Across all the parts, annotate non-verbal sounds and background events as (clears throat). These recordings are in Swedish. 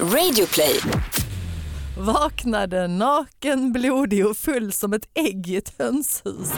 Radioplay. Vaknade naken, blodig och full som ett ägg i ett hönshus.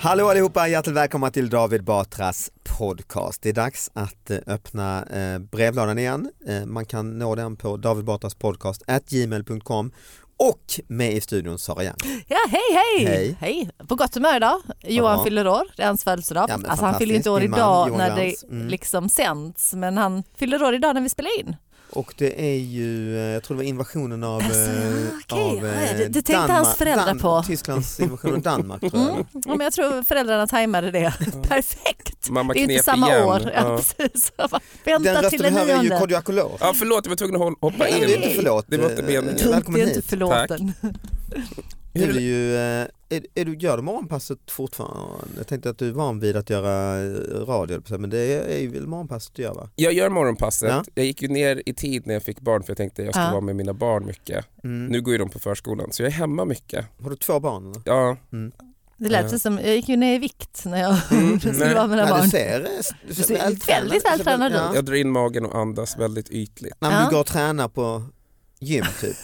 Hallå allihopa, hjärtligt välkomna till David Batras podcast. Det är dags att eh, öppna eh, brevlådan igen. Eh, man kan nå den på davidbatraspodcast.gmail.com och med i studion Sara Young. Ja, hej, hej! Hej. På gott humör idag. Johan Ja. fyller år, det är hans födelsedag. Ja, men alltså han fyller ju inte år fantastiskt. idag Min man, Johan när det Glans. Mm. liksom sänds, men han fyller år idag när vi spelar in. Och det är ju, eh, jag tror det var invasionen av, Alltså, eh, okej. av eh, Ja, det- det tänkte hans föräldrar Dan- på. Tysklands invasion av Danmark tror jag. Mm. Ja, men jag tror föräldrarna tajmade det (laughs) perfekt. Mamma Det är inte knep samma igen. år. Ja, Ja. precis. Den Vänta rösten till vi den hör är ju nionde. Kodjo Akolor. ja, förlåt jag var tvungen att hol- Det hoppa Hej. är in. inte förlåt. Det var inte meningen. Eh, Tungt, Tungt, Välkommen det är inte hit. förlåten. Du är, Hur- ju, eh, är, är du, gör du morgonpasset fortfarande? Jag tänkte att du är van vid att göra eh, radio, höll jag på att säga, men det är ju väl morgonpasset du gör va? Jag gör morgonpasset. Ja. Jag gick ju ner i tid när jag fick barn för jag tänkte jag ska Ja. vara med mina barn mycket. Mm. Nu går ju de på förskolan så jag är hemma mycket. Har du två barn? Eller? Ja, Det lät ju som, jag gick ju ner i vikt när jag (laughs) Mm, skulle nej. vara med mina Ja, barn. du ser, eh, Du du ser, ser väldigt vältränad ut. Ja. jag drar in magen och andas väldigt ytligt. Nej, men Ja. du går och tränar på gym (laughs) typ.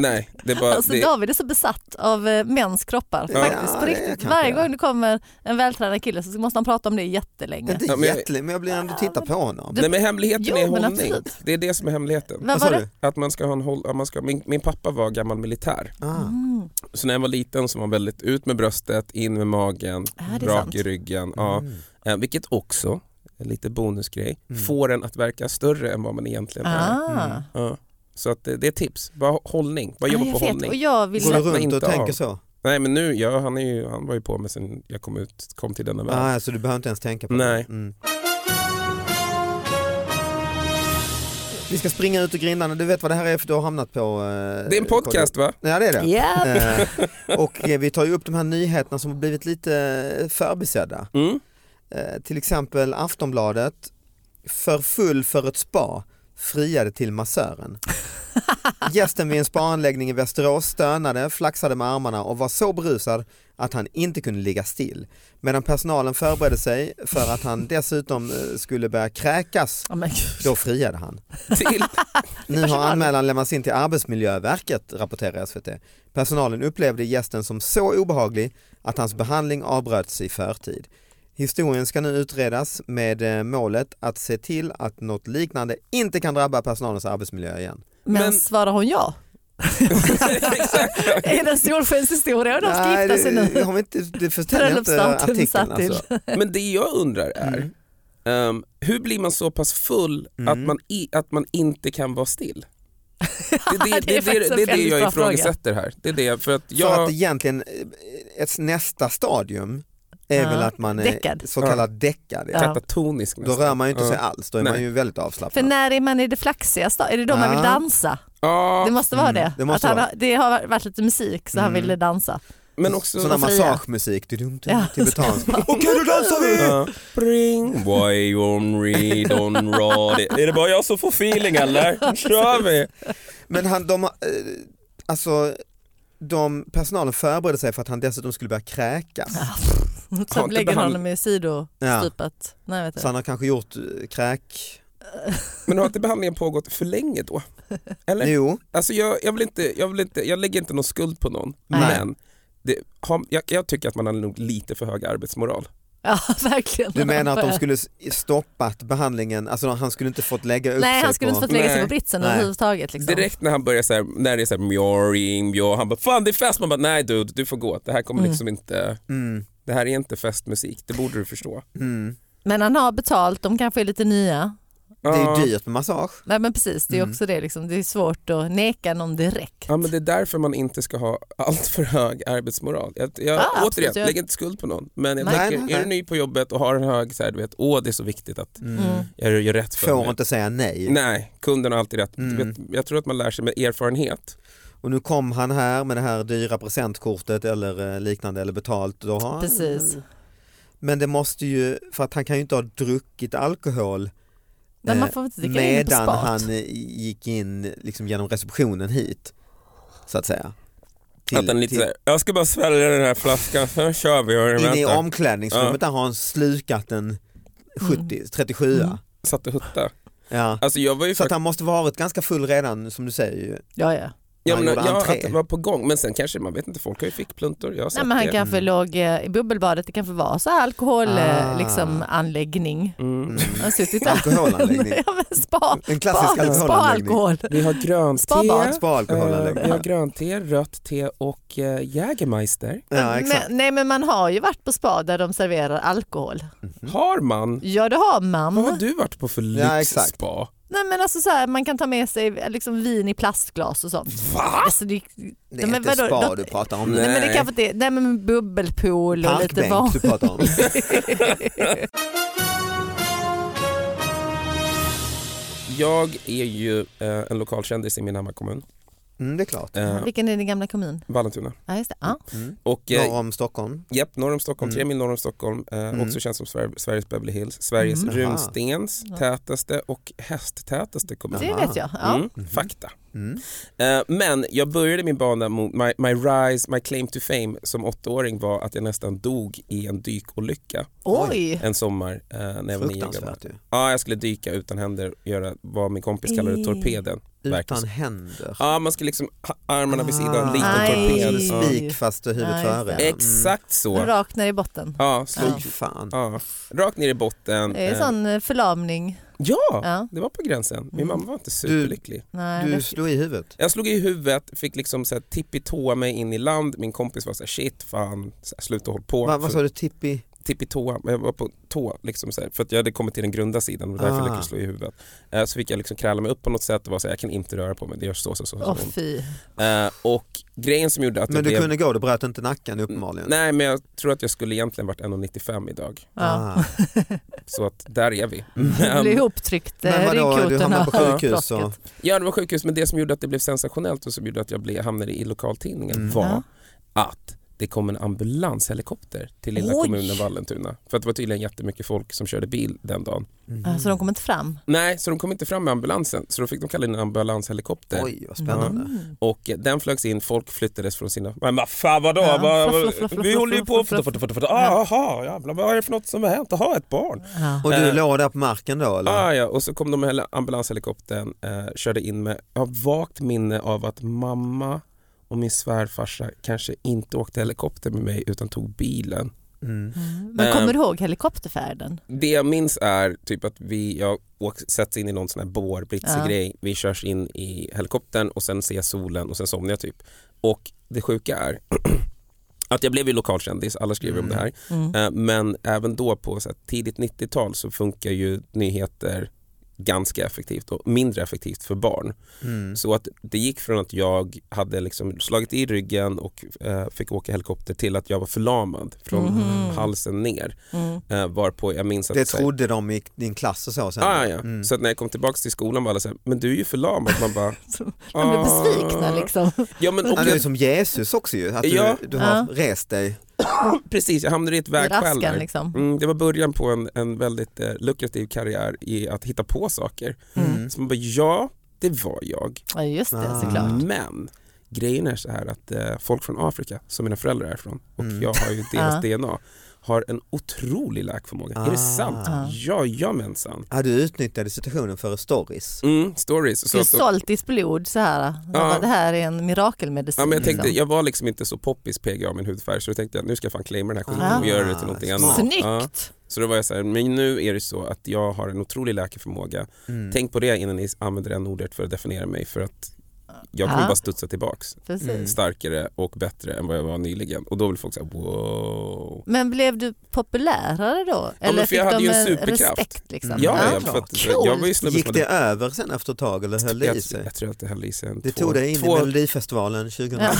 Nej, det är bara... Alltså det, David är så besatt av eh, mäns kroppar Ja, faktiskt. På det riktigt. kanske Varje jag är. gång det kommer en vältränad kille så måste han prata om det jättelänge. Inte Ja, men jag- jättelänge, men jag blir ändå titta på honom. nej men hemligheten Jo, är men hållning. absolut. Det är det som är hemligheten. Vad Vad sa var du? det? Att man ska ha en håll, att man ska, min, min pappa var gammal militär. Ah. Mm. Så när jag var liten så var han väldigt ut med bröstet, in med magen, Ja, det är rak sant. i ryggen. Ja. Mm. Eh, Vilket också, en lite bonusgrej, Mm. får en att verka större än vad man egentligen är. Ah. Ja. Så att eh, det, det är tips. Bara hållning. Bara jobba Ah, jag på vet. hållning. Och jag vill Går du slappna runt inte och av. tänker så? Nej men nu, ja, han, är ju, han var ju på mig sen jag kom, ut, kom till denna värld. Ah, så du behöver inte ens tänka på Nej. det? Mm. Vi ska springa ut ur grindarna, du vet vad det här är för du har hamnat på... eh, Det är en podcast va? Ja det är det. Ja. Eh, och eh, vi tar ju upp de här nyheterna som har blivit lite eh, förbisedda. Mm. Eh, till exempel Aftonbladet, för full för ett spa, friade till massören. Gästen vid en spaanläggning i Västerås stönade, flaxade med armarna och var så berusad att han inte kunde ligga still. Medan personalen förberedde sig för att han dessutom eh, skulle börja kräkas, Ja, men gud. då friade han. (laughs) Till. Nu har anmälan lämnats in till Arbetsmiljöverket, rapporterar SVT. Personalen upplevde gästen som så obehaglig att hans behandling avbröts i förtid. Historien ska nu utredas med eh, målet att se till att något liknande inte kan drabba personalens arbetsmiljö igen. Men, Men- svarar hon (laughs) ja? Exakt. Är det en solskenshistoria och de ska Nej, gifta sig det, alltså nu? har vi inte, det förtäljer inte Bröllopsdatum artikeln. satt till. Alltså. Men det jag undrar är, Mm. ehm, hur blir man så pass full Mm. att, man i, att man inte kan (laughs) vara still? Det, Det är det, det, det, faktiskt en det, det är det väldigt bra jag ifrågasätter här. Det är det, för att För jag, att egentligen, eh, ett nästa stadium är Ja. väl att man är Däckad. så kallad däckad. Ja. Ja. katatonisk Då nästan. rör man ju inte sig alls, då är man Nej. ju väldigt För avslappnad. när är man i det flaxiga stadiet? Är det då man vill Ja. dansa? Ja, Det måste vara Mm, det. det måste att han, vara. har- det har varit lite musik så han Mm. ville dansa. men också... Sån här Varför är jag? massagemusik, du-dum, (laughs) Ja. tibetansk. Okej, då dansar vi! Ja. Bring why on read on rad. Är det bara jag som får feeling eller? kör vi! Men han, de, eh, alltså, de, personalen förberedde sig för att han dessutom skulle börja kräkas. Sen inte lägger han behand- honom i sidostupet. Nej, vet Så du. han har kanske gjort eh, kräk... Men har inte behandlingen pågått för länge då? Eller? Jo, Alltså jag, jag, vill inte, jag, vill inte, jag lägger inte någon skuld på någon, Nej. men det, har, jag, jag tycker att man har nog lite för hög arbetsmoral. Ja, (laughs) verkligen. du menar att Han de börjar- skulle s- stoppat behandlingen, alltså han skulle inte fått lägga upp Nej sig han skulle på... inte fått lägga sig Nej. på britsen Nej. överhuvudtaget. Liksom. Direkt när han börjar så här, när det är såhär mjoring, mjor, han bara fan det är fest, man bara nej dude du får gå, det här kommer Mm. liksom inte, Mm, det här är inte festmusik, det borde du förstå. mm. Men han har betalt, de kanske är lite nya. Det är Ja. ju dyrt med massage. Nej men precis, det är Mm. också det. Liksom. Det är svårt att neka någon direkt. Ja men det är därför man inte ska ha allt för hög arbetsmoral. Jag, jag, Ah, återigen, absolut, jag- lägg inte skuld på någon. Men jag Nej. tänker, Nej, nej, är nej. du ny på jobbet och har en hög så här, du vet, åh det är så viktigt att Mm. Mm. jag gör rätt för Får mig. inte säga nej. Nej, kunden har alltid rätt. Du Mm. Vet, jag tror att man lär sig med erfarenhet. Och nu kom han här med det här dyra presentkortet eller eh, liknande eller betalt. Då har han, Precis. Men det måste ju, för att han kan ju inte ha druckit alkohol Nej, eh, man får inte dricka in på medan spat. han eh, gick in liksom genom receptionen hit. Så att säga. till, Vänta lite. till såhär. Jag ska bara svälja den här flaskan, sen kör vi. Och in i vänta. omklädningsrummet, där har han slukat en 70, 37 Mm. Satt och hutta. ja. Alltså jag var ju Så att faktiskt... han måste varit ganska full redan som du säger ju. Ja, ja. Jag han menar, gjorde ja, entré. att det var på gång. Men sen kanske, man vet inte, folk har ju fickpluntor. Jag har Nej, sett men han det. kanske låg eh, i bubbelbadet, det kanske var så här alkoholanläggning. mm. Ah. Ah. Liksom, anläggning. (laughs) Mm. Mm. han har suttit där. Alkoholanläggning. (laughs) ja, men spa, En klassisk Alltså, spa, spa alkoholanläggning. alkohol. Vi har grönt te, Spabad. eh, vi har Spa-alkoholanläggning. grönt te, rött te och eh, Jägermeister. Ja, exakt. men, nej men man har ju varit på spa där de serverar alkohol. Har man? Ja det har man. Vad har du varit på för Mm. Ja, lyxspa? Nej men alltså så här, man kan ta med sig liksom vin i plastglas och sånt. Va? Alltså, det, Det men är inte vadå, spa då- du pratar om. Nej. nej. men det kanske inte är, nej men bubbelpool och lite Parkbänk typ. van. du pratar om. Jag är ju eh, en lokalkändis i min hemmakommun, Mm, det är klart. (laughs) eh, Vilken är din gamla kommun? Vallentuna. Ja just det. Ja. Mm. Och, eh, Norr om Stockholm. Japp, norr om Stockholm, Mm. tre mil norr om Stockholm, eh, Mm. också känns som Sver- Sveriges Beverly Hills, Sveriges Mm. runstens Aha. tätaste och hästtätaste kommun. Det Aha. vet jag. Ja. Mm, Fakta. Mm. Eh, men jag började min bana mot my, my rise, my claim to fame som åttaåring var att jag nästan dog i en dykolycka Oj. en sommar eh, när jag var nio år gammal. Fruktansvärt ju. Ja, jag skulle dyka utan händer och göra vad min kompis kallade Ej. torpeden. Utan Verkligen. händer. Ja, man skulle liksom ha armarna vid sidan, Ah. liten Aj. torped. En Ja. spik fast huvudet Ja, just före. det. ja. Mm. Exakt så. Rakt ner i botten. Ja, slog Fy fan. Ja, rakt ner i Mm. botten. Det är Eh, sån eh, förlamning. Ja, Ja. det var på gränsen. Min Mm. mamma var inte superlycklig. Nej, Du det- slog i huvudet. Jag slog i huvudet, fick liksom så här tippitåa mig in i land. Min kompis var så här, shit fan, så här, sluta håll på. Va, vad sa du? Tippi? Tippitåa, typ men jag var på tå liksom så här, för att jag hade kommit till den grunda sidan och därför Ah. lyckades slå i huvudet. Eh, så fick jag liksom kräla mig upp på något sätt och var så här, jag kan inte röra på mig, det gör så så så. så Åh ont. fy. Eh, och grejen som gjorde att det Men du blev... kunde gå, du bröt inte nacken uppenbarligen. Nej men jag tror att jag skulle egentligen varit 1,95 idag. Ja. Ah. Så att där är vi. Det Men- blir ihoptryckt eh, Men vadå, du ryggkotorna hamnade på och sjukhus och... plåstret. Ja det var sjukhus men det som gjorde att det blev sensationellt och som gjorde att jag blev, hamnade i lokaltidningen Mm. var Ja. att det kom en ambulanshelikopter till lilla Oj. kommunen Vallentuna. För att det var tydligen jättemycket folk som körde bil den dagen. Ja, Så de kom inte fram. Nej, så de kom inte fram med ambulansen så då fick de kalla in en ambulanshelikopter. Oj, vad spännande. Mm. Och eh, den flögs in, folk flyttades från sina... Men vad fan vadå? Ja, vad, fluff, fluff, fluff, vi fluff, håller ju fluff, på... fluff, fluff. Fluff, fluff, fluff. Ah, Jaha, jävlar, vad är det för något som har hänt? Jaha, ett barn. Ja. Och du Eh. låg där på marken då eller? Ah, ja, och så kom de med hela ambulanshelikoptern, eh, körde in med, jag har vagt minne av att mamma och min svärfarsa kanske inte åkte helikopter med mig utan tog bilen. Mm. Mm. Men Eh. kommer du ihåg helikopterfärden? Det jag minns är typ att vi, jag åk- sätts in i någon sån här bårbritse Ja. grej, vi körs in i helikoptern och sen ser jag solen och sen somnar jag typ. Och det sjuka är (clears throat) att jag blev ju lokalkändis, alla skriver om det här. Mm. Eh, Men även då på så här, tidigt 90-tal så funkar ju nyheter ganska effektivt och mindre effektivt för barn. Mm. Så att det gick från att jag hade liksom slagit i ryggen och eh, fick åka helikopter till att jag var förlamad från Mhm. halsen ner. Mm. Eh, varpå jag minns att... Det så här- trodde de i din klass och så sen? Ah, ja, ja. Mm. Så att när jag kom tillbaka till skolan var alla så här, men du är ju förlamad. Man (laughs) bara, De Mm. blir besvikna "Ah." liksom. Ja, men, och Ja, du är jag, som Jesus också ju, att du, Ja. du har Ja. rest dig. precis, jag hamnade i ett I vägskäl. raskan där. liksom. Mm, det var början på en, en väldigt eh, lukrativ karriär i att hitta på saker. Mm. Så man bara, ja, det var jag. Ja just det Ah. Mm. såklart. Men grejen är så här att eh, folk från Afrika, som mina föräldrar är från, och Mm. jag har ju deras Ah. DNA, har en otrolig läkförmåga. Är det Ah. sant? Ah. Jajamensan. Ja, du utnyttjade situationen för stories. Mm, stories. Du Så har att, sålt ditt blod så här. Ja. Det här är en mirakelmedicin. ja, men jag, tänkte, liksom. jag var liksom inte så poppis PGA av min hudfärg så då tänkte jag nu ska jag fan claima den här skiten Ah. och göra det till någonting annat. Ja, Snyggt! så då var jag så här, men nu är det så att jag har en otrolig läkeförmåga Mm. Tänk på det innan ni använder det här ordet för att definiera mig för att jag kommer Ja. bara studsa tillbaks Precis. Mm. starkare och bättre än vad jag var nyligen och då vill folk säga wow. Men blev du populärare då? men Eller för jag fick hade de ju en eh, superkraft. respekt? Liksom? Ja, Mm. ja, Ja, för att, Coolt. jag var ju snubben Gick som det hade, över sen efter ett tag eller höll det jag, i sig? jag tror att det höll i sig en Det två, tog dig in i två, Melodifestivalen 2000. Ja.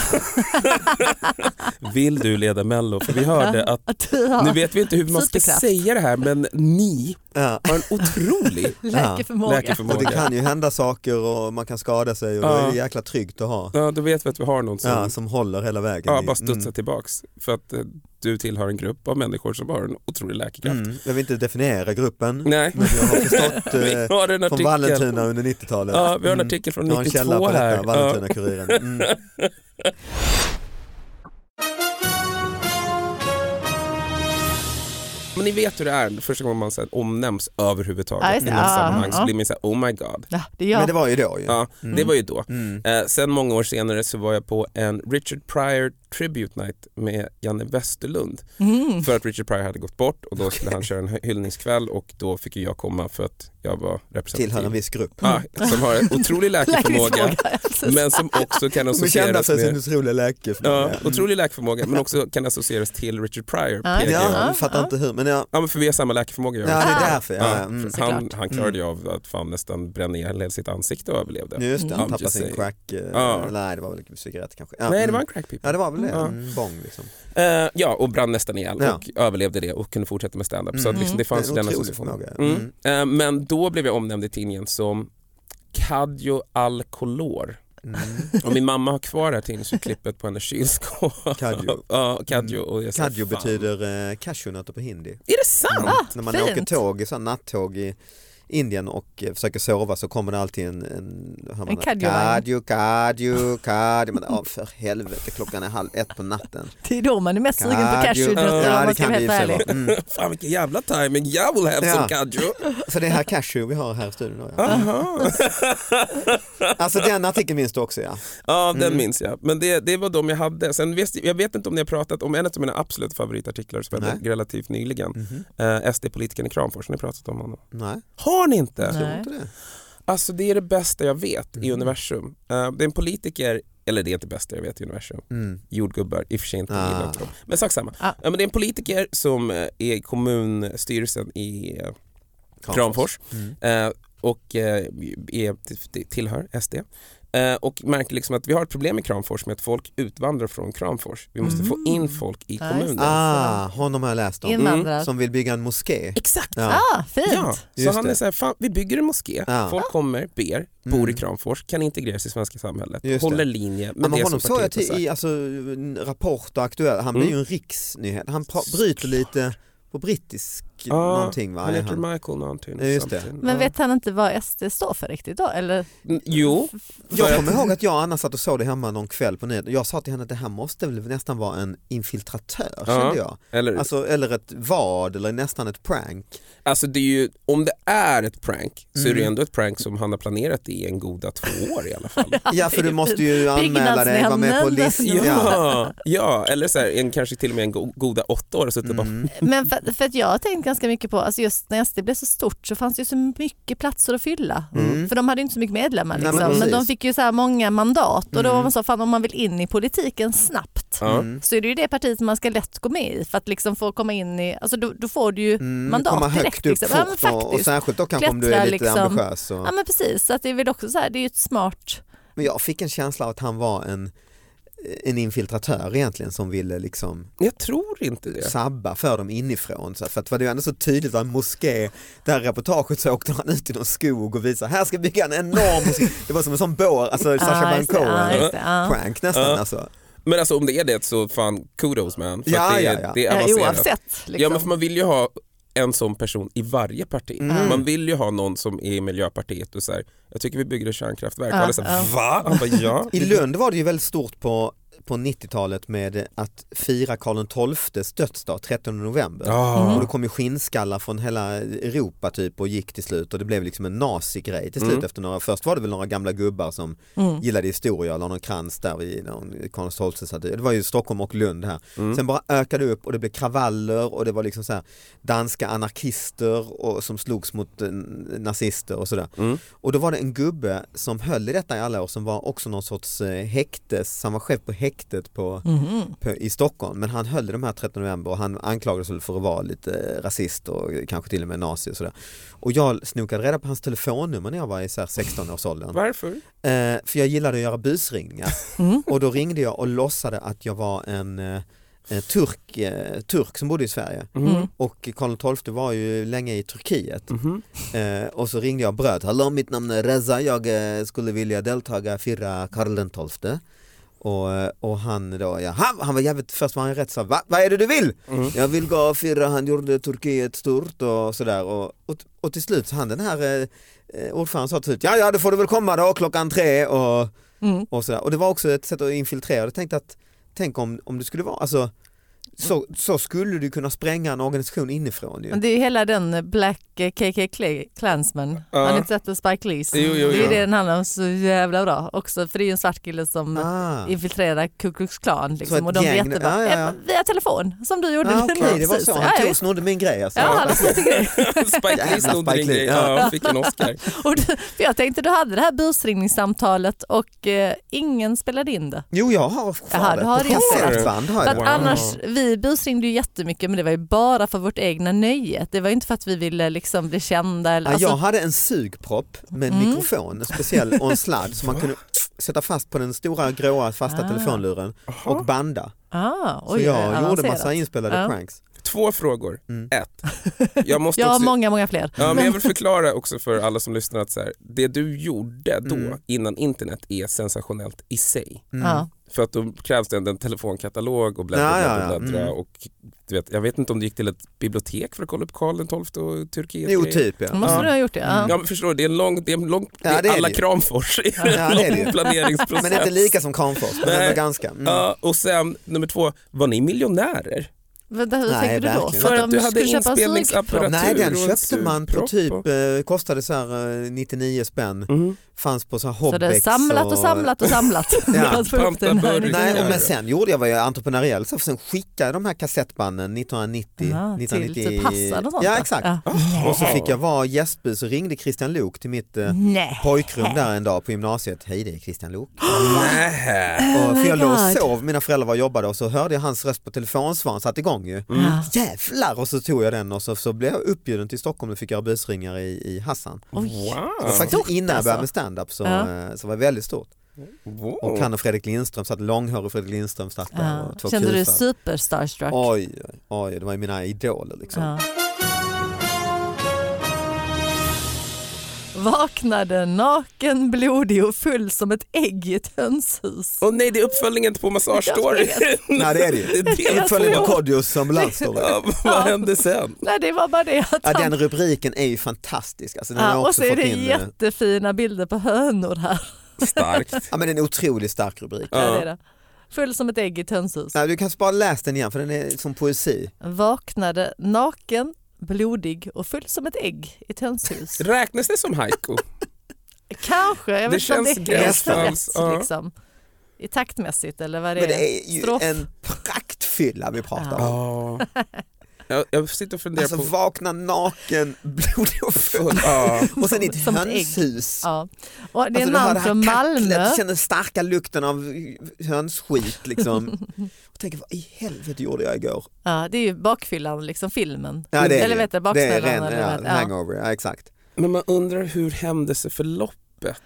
(laughs) Vill du leda mello? För vi hörde (laughs) att Att du har nu vet vi inte hur man ska Superkraft. säga det här men ni Ja. har en otrolig läkeförmåga. Och det läkeförmåga. kan ju hända saker och man kan skada sig och då är det jäkla tryggt att ha. Ja, då vet vi att vi har någon som Ja, som håller hela vägen. ja, i- bara studsar Mm. tillbaks för att eh, du tillhör en grupp av människor som har en otrolig läkekraft. Mm. Jag vill inte definiera gruppen, men Nej. jag har förstått (laughs) Vi eh, har en från artikel, Vallentuna under 90-talet. ja, vi har en Mm. artikel från Jag har en källa 92 på här. (laughs) detta, Ja. Vallentuna-Kuriren. Mm. men ni vet hur det är, första gången man så här, omnämns Ja, överhuvudtaget just i det. något Ja, sammanhang så ja. blir man så här, oh my god. Ja, det gör Men det var ju då ju. Ja, Det var ju då. Mm. Eh, sen många år senare så var jag på en Richard Pryor Tribute Night med Janne Westerlund Mm. för att Richard Pryor hade gått bort och då skulle han köra en hy- hyllningskväll och då fick ju jag komma för att jag var Tillhör en representativ. viss grupp. Ja, (laughs) som har en otrolig läkarförmåga Läkningsfråga, alltså. men som också kan Som är kända associeras för sin med otroliga läke. Ja, otrolig läkarförmåga men också kan associeras till Richard Pryor. Ja. PG. Ja, Ja. jag fattar Ja. inte hur men ja, men för vi har samma läkarförmåga. ja jag det och han. är därför. Ja, Ja, ja, mm. för han, Såklart. han klarade ju av att fan nästan bränna ihjäl hela sitt ansikte och överlevde. Just det, Mm. han I'm tappade just sin saying. crack. eh, Ja. Nej det var väl cigarett kanske. Ja, Nej det mm. var en crack pipa. Ja det var väl det, Ja. en bong liksom. Eh, ja, och brann nästan ihjäl Ja. och överlevde det och kunde fortsätta med standup. Så att Mm. liksom, det fanns Det är ju den en otrolig associationen. förmåga. Mm. Eh, men då blev jag omnämnd i tidningen som Cadioalcolor. (laughs) Mm. Och min mamma har kvar det här tidningsurklippet på hennes kylskåp. Cadjo. (laughs) ja, Cadjo. Och jag sa, Mm. Kadjo "Fan." Ah, betyder eh, cashewnötter på hindi. Är det sant? Mm. När man fint. åker tåg, så här nattåg i Indien och eh, försöker sova så kommer det alltid en, en, hör man En att kadjovagn. kadjo, kadjo, kadjo. Men, ja, för helvete, klockan är halv ett på natten. Det är då man är mest sugen på Kadjo. cashewnötter om Ja, det man ska kan vara det i och helt för sig ärlig. vara. Mm. Fan vilken jävla timing jag will have Ja. (laughs) some Cadjo. Så det är här cashew vi har här i studion. Då, ja. Aha. Alltså den artikeln minns du också ja. Ja, Mm. den minns jag. Men det, det var de jag hade. Sen vet, jag vet inte om ni har pratat om en av mina absolut favoritartiklar som jag Nej. hade relativt nyligen. Mhm. Eh, SD-politikern i Kramfors, har ni pratat om honom? Nej, Har ni inte? jag tror Nej. inte det. Alltså det är det bästa jag vet Mm. i universum. Eh, det är en politiker, eller det är inte det bästa jag vet i universum, Mm. jordgubbar, i och för sig inte, Ah. jag gillar inte dem. Men sak samma. Ah. Eh, men det är en politiker som eh, är i kommunstyrelsen i eh, Kramfors Mm. eh, och eh, är, tillhör SD. Eh, och märker liksom att vi har ett problem i Kramfors med att folk utvandrar från Kramfors. Vi måste få in folk i Mm. Ja, kommunen. Ah, honom har jag läst om. Invandrare. Som vill bygga en moské. Exakt! Ja. Ah, fint. Mm. Ja, så Just han är det. så här, fan, vi bygger en moské, Ja. folk kommer, ber, bor i Mm. Kramfors, kan integreras i svenska samhället, Just det. håller linje med Men det honom som såg jag partiet har till, sagt. i alltså, Rapport och Aktuellt, han blir Mm. ju en riksnyhet. Han pra- bryter lite på brittisk Ja, någonting va? Han är heter Michael någonting. Ja, just det. something. Men Ja. vet han inte vad SD står för riktigt då? Eller? Mm, Jo, Jag kommer ihåg att jag och Anna satt och såg det hemma någon kväll på nyheterna. Jag sa till henne att det här måste väl nästan vara en infiltratör Ja. kände jag. eller, alltså, Alltså, eller ett vad eller nästan ett prank. det är ju, om det är ett prank så är det ju Mm. ändå ett prank som han har planerat i en goda två år i (laughs) alla fall. Ja för du måste ju anmäla dig, vara med på listan. Byggnadsnämnden. Ja. Ja, ja eller så här, en, kanske till och med en go- goda åtta år och suttit bara Mm. Men för, för att jag har tänkt ganska mycket på, alltså just när SD blev så stort så fanns det ju så mycket platser att fylla. Mm. För de hade ju inte så mycket medlemmar Nej, liksom. men men, precis. de fick ju så här många mandat och då Mm. var man så, fan om man vill in i politiken snabbt Ja. Mm. så är det ju det partiet som man ska lätt gå med i för att liksom få komma in i, alltså då, då får du ju Mm, mandat komma högt direkt. upp liksom. ja, men fort och, och faktiskt. särskilt då kanske om du Klättra, är lite liksom. ambitiös. Och... Ja men precis, så att det är väl också så här, det är ju ett smart, Men jag fick en känsla av att han var en, en infiltratör egentligen som ville liksom Jag tror inte det. sabba för dem inifrån. Så här, för att det var ju ändå så tydligt att en moské, det här reportaget så åkte han ut i någon skog och visade här ska vi bygga en enorm moské. Det var som en sån bår, alltså Sacha Ja, Baron just det, ja, Cohen. just det, ja. Prank nästan Ja. alltså. Men alltså om det är det så fan kudos man. För att Ja, det, är- ja, ja. det är Ja, avancerat. eh, oavsett. Liksom. Ja men för man vill ju ha en sån person i varje parti. Mm. Man vill ju ha någon som är i Miljöpartiet och säger jag tycker vi bygger ett kärnkraftverk. Ja, Ja, så här, ja. Va? Han bara ja. (laughs) I Lund var det ju väldigt stort på, på 90-talet med att fira Karl XIIs dödsdag 13 november. Ah. Och det kom ju skinnskallar från hela Europa typ och gick till slut och det blev liksom en nazigrej till slut Mm. efter några, först var det väl några gamla gubbar som Mm. gillade historia och la någon krans där vid någon Karlsholmsstaty. Det var ju Stockholm och Lund här. Mm. Sen bara ökade det upp och det blev kravaller och det var liksom så här danska anarkister och, som slogs mot eh, nazister och sådär. Mm. Och då var det en gubbe som höll i detta i alla år som var också någon sorts eh, häktes, han var chef på häktet på Mhm. på, i Stockholm men han höll i de här 13 november och han anklagades väl för att vara lite rasist och kanske till och med nazi och sådär. Och jag snokade reda på hans telefonnummer när jag var i så här 16-årsåldern. Varför? (laughs) Eh, för jag gillade att göra busringningar Mm. och då ringde jag och låtsade att jag var en eh, eh, turk, eh, turk som bodde i Sverige Mm. och Karl XII var ju länge i Turkiet Mhm. eh, och så ringde jag och bröt. Hallå mitt namn är Reza, jag eh, skulle vilja deltaga fira Karl XII och, eh, och han då, ja, han, han var jävligt, först var han rätt så Va, vad är det du vill? Mm. Jag vill gå och fira, han gjorde Turkiet stort och sådär och, och, och till slut så han den här eh, eh, ordföranden sa till slut, ja ja då får du väl komma då klockan tre och, Mm. och sådär. Och det var också ett sätt att infiltrera, jag tänkte att tänk om, om det skulle vara, alltså Så, så skulle du kunna spränga en organisation inifrån ju. Men det är ju hela den Black eh, KK Cla- Klansman. Ja. Har ni inte sett den Spike Lees? Jo, jo, Det är jo. ju det den handlar om så jävla bra också. För det är ju en svart kille som Ah. infiltrerar Ku Klux Klan. ett Liksom, och de blir gäng- jättebra. ja, ja, ja. Eh, Via telefon som du gjorde. Ah, (laughs) Okej, det var Precis. så. Ja, Han tog, visst. snodde min grej alltså. Ja, han har sett en grej. Spike Lee Jävla snodde Spike din Lee, grej. ja. Ja, han fick en Oscar. (laughs) Och du, för jag tänkte du hade det här busringningssamtalet och eh, ingen spelade in det. Jo, jag har Jaha, du har kvar det det. Alltså- på kassettband. Har För jag. att det. Wow. annars, vi busringde ju jättemycket men det var ju bara för vårt egna nöje. Det var ju inte för att vi ville liksom bli kända. Eller, Ja, alltså, jag hade en sugpropp med en Mm. mikrofon, en speciell och en sladd som man kunde sätta fast på den stora gråa fasta Ah. telefonluren och Jaha. banda. ah, Så oj, jag gjorde avancerat. massa inspelade Ja. pranks. Två frågor. Mm. Ett. Jag måste Jag har också... många, många fler. Ja, men jag vill förklara också för alla som lyssnar att så här, det du gjorde då Mm. innan internet är sensationellt i sig. Mm. Ja. För att då krävs det ändå en telefonkatalog och bläddra, Ja, ja, bläddra, ja. bläddra Mm. och du vet, jag vet inte om du gick till ett bibliotek för att kolla upp Karl XII och Turkiet. Jo, typ ja. Då måste Ja. du ha gjort det. Ja. Ja men förstår du, det är en lång, det är en lång, Ja, det det är är alla det ju. Kramfors i Ja, en det är det ju. (laughs) lång planeringsprocess. Men inte lika som Kramfors, men Nej. ändå ganska. Mm. Ja, och sen nummer två, var ni miljonärer? Vänta, hur Nej, tänkte du då? verkligen. För de att du hade skulle köpa en inspelningsapparatur. sugpropp? Nej, den och en köpte man på sugpropp typ, och- eh, kostade så här eh, 99 spänn, Mm. fanns på så här Så det är Hobbex. samlat och samlat och (laughs) samlat. (laughs) För att få upp Panta den här liksom. burkar. Nej, och nivån. men sen gjorde jag, var jag entreprenöriell, så sen skickade jag de här kassettbanden 1990, Aha, till 1990 typ Hassan och sånt Ja, då? exakt. Ja. Och så fick jag vara gästbud så ringde Christian Lok till mitt eh, Nej. pojkrum där en dag på gymnasiet. Hej det är (gasps) Christian Lok. Nej. och för Oh my jag låg och God. sov, mina föräldrar var och jobbade och så hörde jag hans röst på telefonsvararen satte igång ju. Ja. Jävlar! Och så tog jag den och så, så blev jag uppbjuden till Stockholm och fick göra busringar i, i Hassan. Oj. Det var Wow. faktiskt Stort innan jag började med alltså. stand-up så, Ja. eh, så var det väldigt stort. Och wow. han och Fredrik Lindström satt, långhårig Fredrik Lindström satt där och Ja. två Kände du dig kusar. superstarstruck? Oj, oj, oj, det var ju mina idoler liksom. Ja. Vaknade naken, blodig och full som ett ägg i ett hönshus. Och nej, det är uppföljningen på Massage Story. (laughs) Nej det är det (laughs) Det ju. är det (laughs) Jag Uppföljning på två. tror- Kodjos ambulansstory. Ja, Vad hände sen? Nej, det var bara det att Ja, han... den rubriken är ju fantastisk. Alltså, den har jag ja, och också så är fått det in, eh, jättefina bilder på hönor här. Starkt. Ja, men den är en otroligt stark rubrik. Ja. det är det. Full som ett ägg i ett hönshus. Ja, du kanske bara läs den igen för den är som poesi. Vaknade naken, blodig och full som ett ägg i ett hönshus. Räknas det som haiku? Kanske, jag Det vet inte om det känns är helt gränsfalls, rätt. ja. Liksom. I taktmässigt eller vad det är. Men det är ju Strof. en praktfylla vi pratar om. Ja. Jag, jag sitter och funderar Alltså på... vakna naken, (laughs) blodig och full Ja. och sen i ett Som ett ägg. hönshus. Ja. Och det är Alltså, en du hör man det här från kacklet, Malmö. Du känner den starka lukten av hönsskit (laughs) liksom. Och tänker vad i helvete gjorde jag igår? Ja, det är ju bakfyllan, liksom filmen. Ja, det är, eller det. vet du, det är baksmällan. ren eller ja, vad- ja. hangover, ja exakt. (laughs) Men man undrar hur händelseförloppet?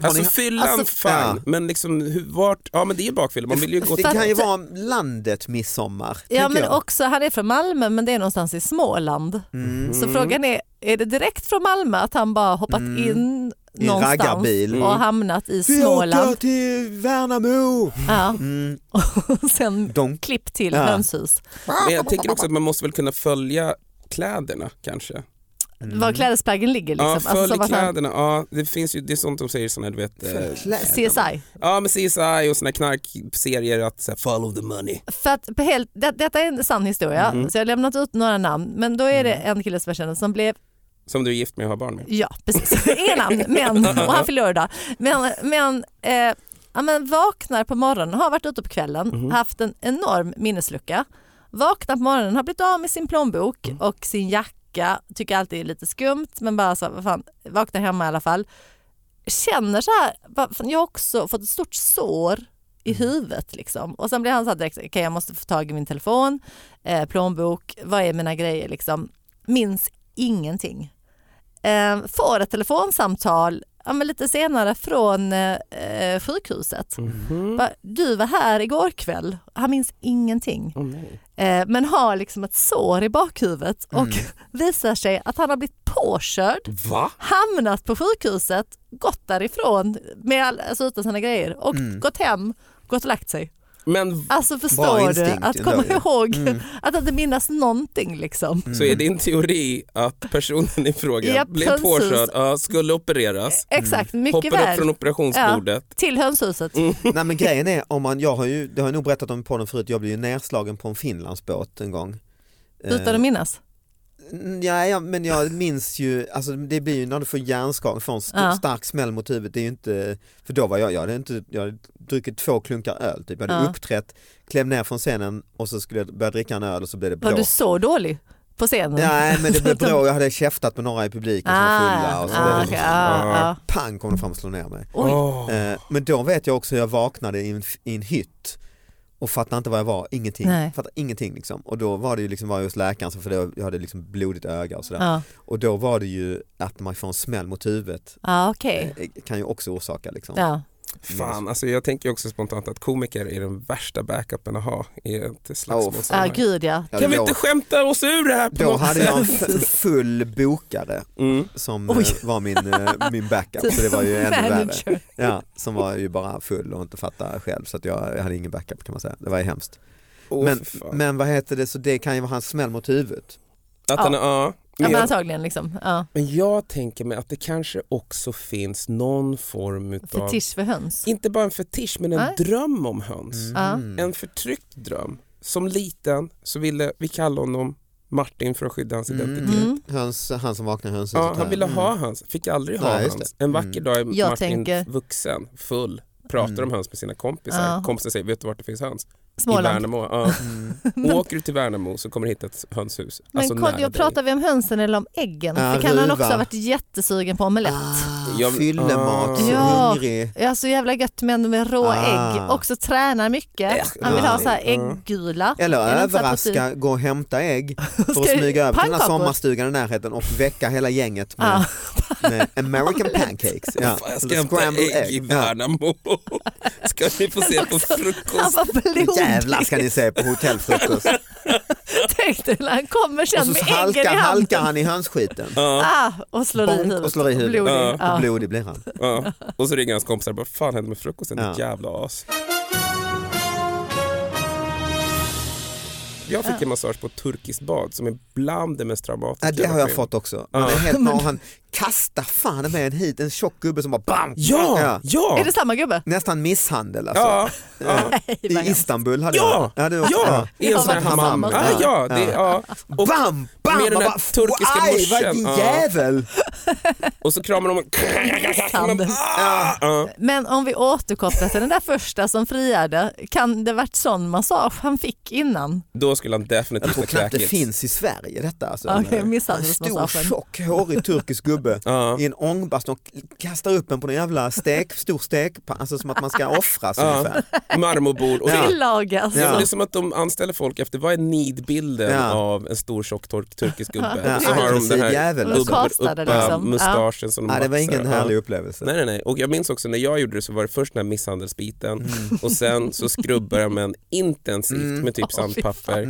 Har Alltså ni- fyllan, alltså, fine. ja. Men liksom, hur, vart, ja men det är bakfylla, man vill ju gå Det till... Fattar- kan ju vara landet midsommar. Ja, tänker men jag. också, han är från Malmö men det är någonstans i Småland. Mm. Så frågan är, är det direkt från Malmö att han bara hoppat Mm. in I en någonstans raggarbil. Mm. och hamnat i Vi åker Småland? till Värnamo! Ja, Mm. (laughs) och sen Donk. klipp till Ja. hönshus. Men jag tänker också att man måste väl kunna följa kläderna kanske? Mm. Var klädesplaggen ligger liksom. Ja, följ som att han- kläderna. Ja, det finns ju, det är sånt de säger såna, du vet, eh, CSI. ja men CSI och såna knarkserier att så här, follow the money. För att på helt, det, detta är en sann historia, Mm. så jag har lämnat ut några namn. Men då är det en kille som jag känner som blev Som du är gift med och har barn med. Ja, precis. Inga namn, men, och han fyller år idag. Men, men, eh, ja, men vaknar på morgonen, har varit ute på kvällen, haft en enorm minneslucka. Vaknar på morgonen, har blivit av med sin plånbok och sin jacka. Tycker alltid det är lite skumt, men bara så, vad fan, vaknar hemma i alla fall. Känner så här, vad fan, jag har också fått ett stort sår i huvudet liksom. Och sen blir han så här direkt, okej jag måste få tag i min telefon, eh, plånbok, vad är mina grejer liksom. Minns ingenting eh, får ett telefonsamtal ja, men lite senare från eh, eh, sjukhuset. Mhm. Bara, Du var här igår kväll. Han minns ingenting Åh, nej. eh, men har liksom ett sår i bakhuvudet och Mm. (laughs) visar sig att han har blivit påkörd, Va? hamnat på Mm. sjukhuset, gått därifrån med all, alltså utan sina grejer och gått hem, gått och lagt sig. Men Alltså Bra förstår du? instinkt Att komma ändå ju. ihåg, Mm. att inte minnas någonting liksom. så är din teori att personen i fråga Japp, blev precis. påkörd, ja, skulle opereras, Exakt, mycket hoppade upp väl. från operationsbordet. Till hönshuset. Nej men grejen är, om man, jag har ju, det har jag nog berättat om på podden förut, jag blev ju nerslagen på en Finlandsbåt en gång. Eh, Utan att minnas. Mm, Ja, ja, men jag minns ju, alltså det blir ju när du får hjärnskakning, får en st- Ja. stark smäll mot huvudet, det är ju inte, för då var jag, jag hade, inte, jag hade druckit två klunkar öl, typ. jag hade Ja. uppträtt, klev ner från scenen och så skulle jag börja dricka en öl och så blev det Var du bråk. så dålig på scenen? Nej men det (laughs) blev bråk, jag hade käftat med några i publiken som var fulla och så blev ah, det okej, liksom, ah, ah. pang kom de fram och slog ner mig. Oj. Åh. Eh, Men då vet jag också hur jag vaknade i en, i en hytt och fattade inte vad jag var, ingenting. Nej. Fattade ingenting liksom. Och då var det ju liksom, var jag hos läkaren så för då, jag hade liksom blodigt öga och sådär. Ja, Och då var det ju att man får en smäll mot huvudet ah, okej. eh, kan ju också orsaka liksom. Ja. Fan, alltså jag tänker också spontant att komiker är den värsta backupen att ha i ett slagsmål. Ah, gud ja. Ja, kan vi då, inte skämta oss ur det här på då något hade sätt? jag en (laughs) f- full bokare Mm. som Oj. eh, var min, eh, min backup så (laughs) det var ju ännu värre. Manager. Ja, som var ju bara full och inte fattade själv så att jag, jag hade ingen backup kan man säga. Det var ju hemskt. Åh, men, fy fan. men vad heter det, så det kan ju vara hans smäll mot huvudet. att han, ja. Ja, Men, men jag, antagligen liksom. Ja. men jag tänker mig att det kanske också finns någon form utav, Fetisch för höns. inte bara en fetisch men en Nej. dröm om höns. Mm. En förtryckt dröm. Som liten så ville vi kalla honom Martin för att skydda hans Mm. identitet. Mm. Höns, han som vaknar i hönshuset. Ja, här. han ville ha Mm. höns, fick aldrig ha Nej, just höns. det. En vacker Mm. dag är Jag Martin tänker- vuxen, full, pratar Mm. om höns med sina kompisar. Ja. Kompisen säger, vet du vart det finns höns? I Småland. Värnamo. Ja. Mm. (laughs) Åker du till Värnamo så kommer du hitta ett hönshus. Men alltså, Kodjo, nära jag dig. pratar vi om hönsen eller om äggen? Ja, För kan han ruva. också ha varit jättesugen på omelett? Jag- Ah, fyllemat, Ah. Ja. hungrig. Ja, så jävla gött med, med råa Ah. ägg. Också tränar mycket. Äh, Han vill ha ja. så här Ja. ägggula. Eller Är det inte så här överraska, gå och hämta ägg för att (laughs) Ska- smyga över till den här pannkakor? sommarstugan i närheten och väcka hela gänget med, Ja. med American pancakes. Ja. Fan, jag ska Eller hämta ägg, scrambled i Ja. Värnamo. (laughs) Ska ni få se Alltså, på Han frukost? var blodig. (laughs) Jävlar ska ni se på hotellfrukost. Tänk dig när han kommer Och sen med så äggen i halkar, halkar handen. han i hönsskiten. Ja, Ah, och slår i Bonk, huvudet. och slår i huvudet. Blodig. Ja. Och Ja. blodig blir han. ja. Och så ringer hans kompisar och bara, fan hände med frukosten? Ja. Ditt jävla as. Jag fick en massage på ett turkiskt bad som är bland det mest traumatiska. Ja, det har varit jag med fått också. Han, är (laughs) helt, och han kastar fan med en hit, en tjock gubbe som bara bam! Ja, ja, Är det samma gubbe? Nästan misshandel alltså. ja, ja, Nej, vad I hemskt. Istanbul hade ja, jag. du ja, också. ja, i en Jag sån här har varit hammam. på Ja, samma. ja, det, ja. Och, Bam, bam! Med den där Bara, turkiska aj, vad morsan. din Ja. jävel! och så kramar de Sanden. Man- Ah! Ja. Men om vi återkopplar till den där första som friade, kan det varit sån massage han fick innan? Då skulle han Jag definitivt tror ha knappt det kräkits. finns i Sverige detta. Alltså. Okej, en stor misshandelsmassagen. tjock hårig turkisk gubbe (laughs) Ja. i en ångbastu och kastar upp en på en jävla stek, stor stek, alltså som att man (laughs) ska offras Ja. ungefär. Marmorbord. Och Ja. Tillagas. Ja. men Ja. Det är som att de anställer folk efter vad är needbilden Ja. av en stor tjock tork, turkisk gubbe. Ja, och så har de aggressiv den här jävel, alltså. dubbeluppa Kastade liksom. mustaschen som de Nej, det var maxar. ingen Ja. härlig upplevelse. Nej, nej, nej. Och jag minns också när jag gjorde det så var det först den här misshandelsbiten och sen så skrubbade jag men intensivt med typ sandpapper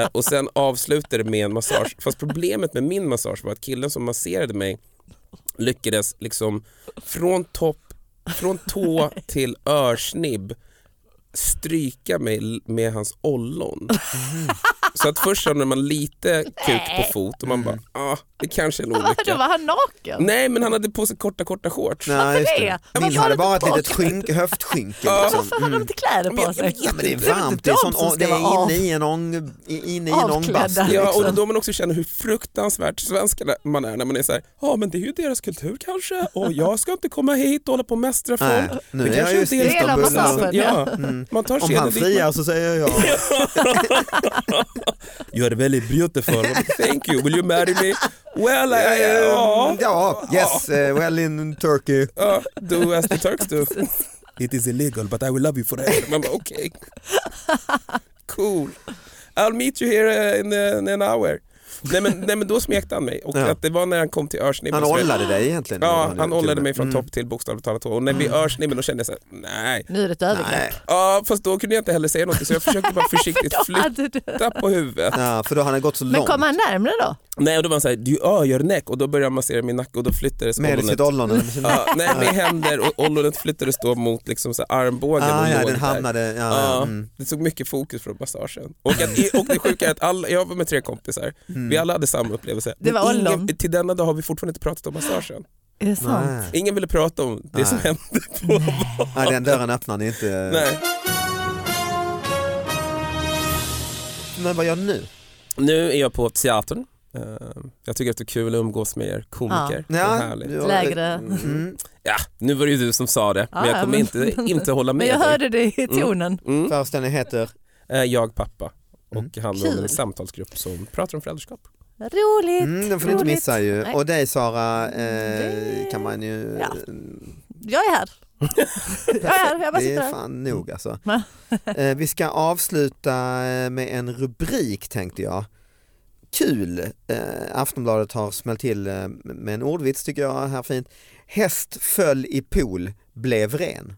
eh, och sen avslutade det med en massage. Fast problemet med min massage var att killen som masserade mig lyckades liksom från topp, från tå till örsnibb stryka mig l- med hans ollon. Så att först känner man lite kuk på fot och man bara, ah, det kanske är en Då (laughs) olycka. var han naken. Nej men han hade på sig korta korta shorts. Nej, just det? det. Men Min vad hade var bara ett det litet tillbaka? skynk, höftskynke. Ja. Mm. Liksom. Varför hade han inte kläder Men på jag- jag sig? vet Ja, men det är Det är väl varmt, inte det är, de sån, som det ska vara är av- inne i en, ång, i- inne i en avklädda. ångbastu. Ja, och det är Liksom. då man också känner hur fruktansvärt svenska man är när man är så här, ja men det är ju deras kultur kanske och jag ska inte komma hit och hålla på och mästra Nej, folk. nu det är jag kanske just inte i är Det är hela Istanbul. massagen. alltså. Ja, Mm. man tar Om skeden han dit friar så säger (laughs) jag ja. man- You are very beautiful, thank you, will you marry me? Well, I, I, ja. ja, yes, eh, well in Turkey. Ja, do as the Turks do. (laughs) It is illegal but I will love you forever. Man bara okej, cool. I'll meet you here eh, in, eh, in an hour. Nej men, nej, men då smekte han mig och Ja. att det var när han kom till örsnibben Han som jag- ollade dig egentligen. Ja, gjorde han ollade till mig från Mm. topp till bokstavligt talat tå. och när vi örsnibben då kände jag såhär, nej. Nu är det ett övergrepp. Nej. Ja, fast då kunde jag inte (laughs) heller säga något så jag försökte bara försiktigt Då flytta hade du... på huvudet. Ja, för då han hade gått så Men långt. kom han närmre då? Nej, och då var han såhär, du ögör näck och då började han massera min nacke och då flyttades Med ollonet. sitt ollon eller med sin Ja, nej, med händer och ollonet flyttades då mot liksom så här armbågen ah, och ja, låg den där. hamnade, ja, Ja, ja, mm. Det tog mycket fokus från massagen. Och, att, och det sjuka är att alla, jag var med tre kompisar, Mm. vi alla hade samma upplevelse. Det var Men ollon. till denna dag har vi fortfarande inte pratat om massagen. Är det sant? Nej. Ingen ville prata om det som Nej. hände på Nej, den dörren öppnar ni inte. Nej. Men vad gör du nu? Nu är jag på teatern. Eh, Jag tycker att det är kul att umgås med er komiker. Det är härligt. du har- Lägre. Mm, Ja, nu var det ju du som sa det, men Ja, jag kommer men- inte, inte hålla med Men jag dig. hörde det i Mm. tonen. Mm. föreställningen heter? Eh, Jag, pappa och Mm. handlar om en Kul. samtalsgrupp som pratar om föräldraskap. Roligt. Mm, den får ni inte roligt. missa ju. Nej. Och dig Sara eh, Det- kan man ju... Ja. Jag är (laughs) här. jag är här, jag bara Det sitter är här. fan nog alltså. Va? (laughs) Eh, Vi ska avsluta eh, med en rubrik tänkte jag. Kul! Eh, Aftonbladet har smällt till eh, med en ordvits tycker jag här fint. Häst föll i pool, blev ren.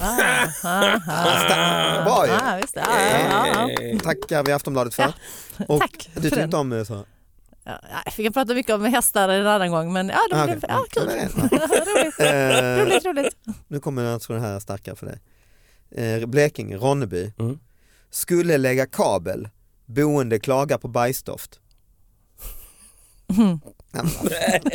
Ah, ah, ah. Bra ju. Ah, visst. Ah, ja, ja, ja. Eh, Tackar vi Aftonbladet för. Och Tack du för tyckte den. inte om det så? Ja, nej, vi kan prata mycket om hästar en annan gång men ja, det Ah, blev, okej. Mm. ja kul. Ja, (laughs) roligt, det är Eh, roligt, roligt. Nu kommer alltså det här starkare för dig. Eh, Blekinge, Ronneby. Mm. Skulle lägga kabel, boende klagar på bajsdoft. Mm. Nej, men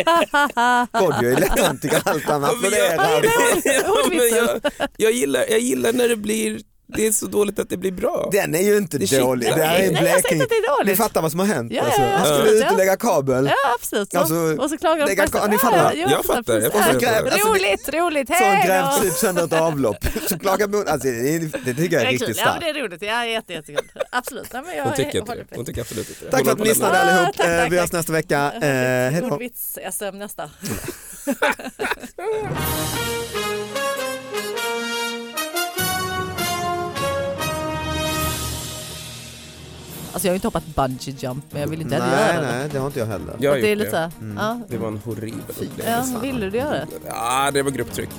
vad fan. Kodjo är lätt tycker allt han applåderar. (laughs) (laughs) Ja, men jag, jag, gillar, jag gillar när det blir, det är så dåligt att det blir bra. Den är ju inte Det är dålig, skit. det här är Nej, jag säger Blekinge. inte att det är Ni dåligt. fattar vad som har hänt Ja, alltså. ja, ja, Han skulle absolut, ut och ja. lägga kabel. Ja absolut. Så. Alltså, och så klagar de lägga på hästar. ka- ni fattar. Ja, Jag fattar, jag precis. fattar. Ja, Alltså, det- roligt, roligt, Så han hej grävt då. typ sönder ett avlopp. Så klagar boende. Alltså, det, är- det tycker jag Det är är kul. riktigt Ja, men det starkt. är roligt. Jag är jätte, jättekul. Absolut. Nej, men jag Hon tycker, inte håller det. på. Hon tycker absolut inte det. Tack för att ni Hon har lyssnade bara- Ja, allihop. tack, Eh, tack, Vi hörs tack. nästa vecka. Eh, Hej då. Ordvits-SM nästa. (laughs) Alltså jag har ju inte hoppat bungee jump men jag vill inte heller Nej, göra det. nej, Mm. det har inte jag heller. Jag har det är gjort lite det. såhär, ja, det var en horribel upplevelse. ja, vill du göra det? Ja, det var grupptryck.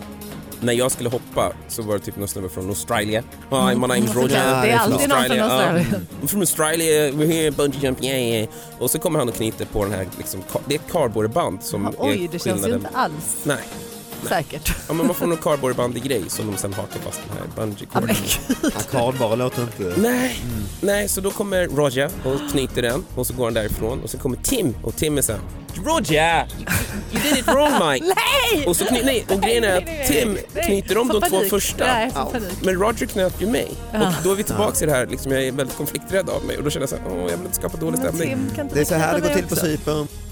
När jag skulle hoppa så var det typ någon snubbe från Australien. Hi, my name is Roger. Mm. Det är I'm alltid någon från Ja, Australien. I'm from Australia, we're here, bungee jump, yeah, yeah. Och så kommer han och knyter på den här, liksom, ka- det är ett kardborreband som Ja, är Oj, det känns ju skillnaden. inte alls Nej, (laughs) säkert. ja, men man får någon kardborreband i grej som de sen hakar fast den här bungee (laughs) Ja, men corden. gud. Ackordbara låter inte... Nej, nej, så då kommer Roger och knyter den och så går han därifrån och så kommer Tim och Tim är såhär Roger! You did it wrong mate! Nej! Och, så kny- nej, och grejen är att Tim knyter de Får de två panik. första. Nej, får Au. panik. Men Roger knöt ju mig. Ja. Och då är vi tillbaka i det här, liksom, jag är väldigt konflikträdd av mig och då känner jag så här, åh jag vill inte skapa dålig Men stämning. Tim, kan inte Det är så här du det går knyta till också? på Cypern.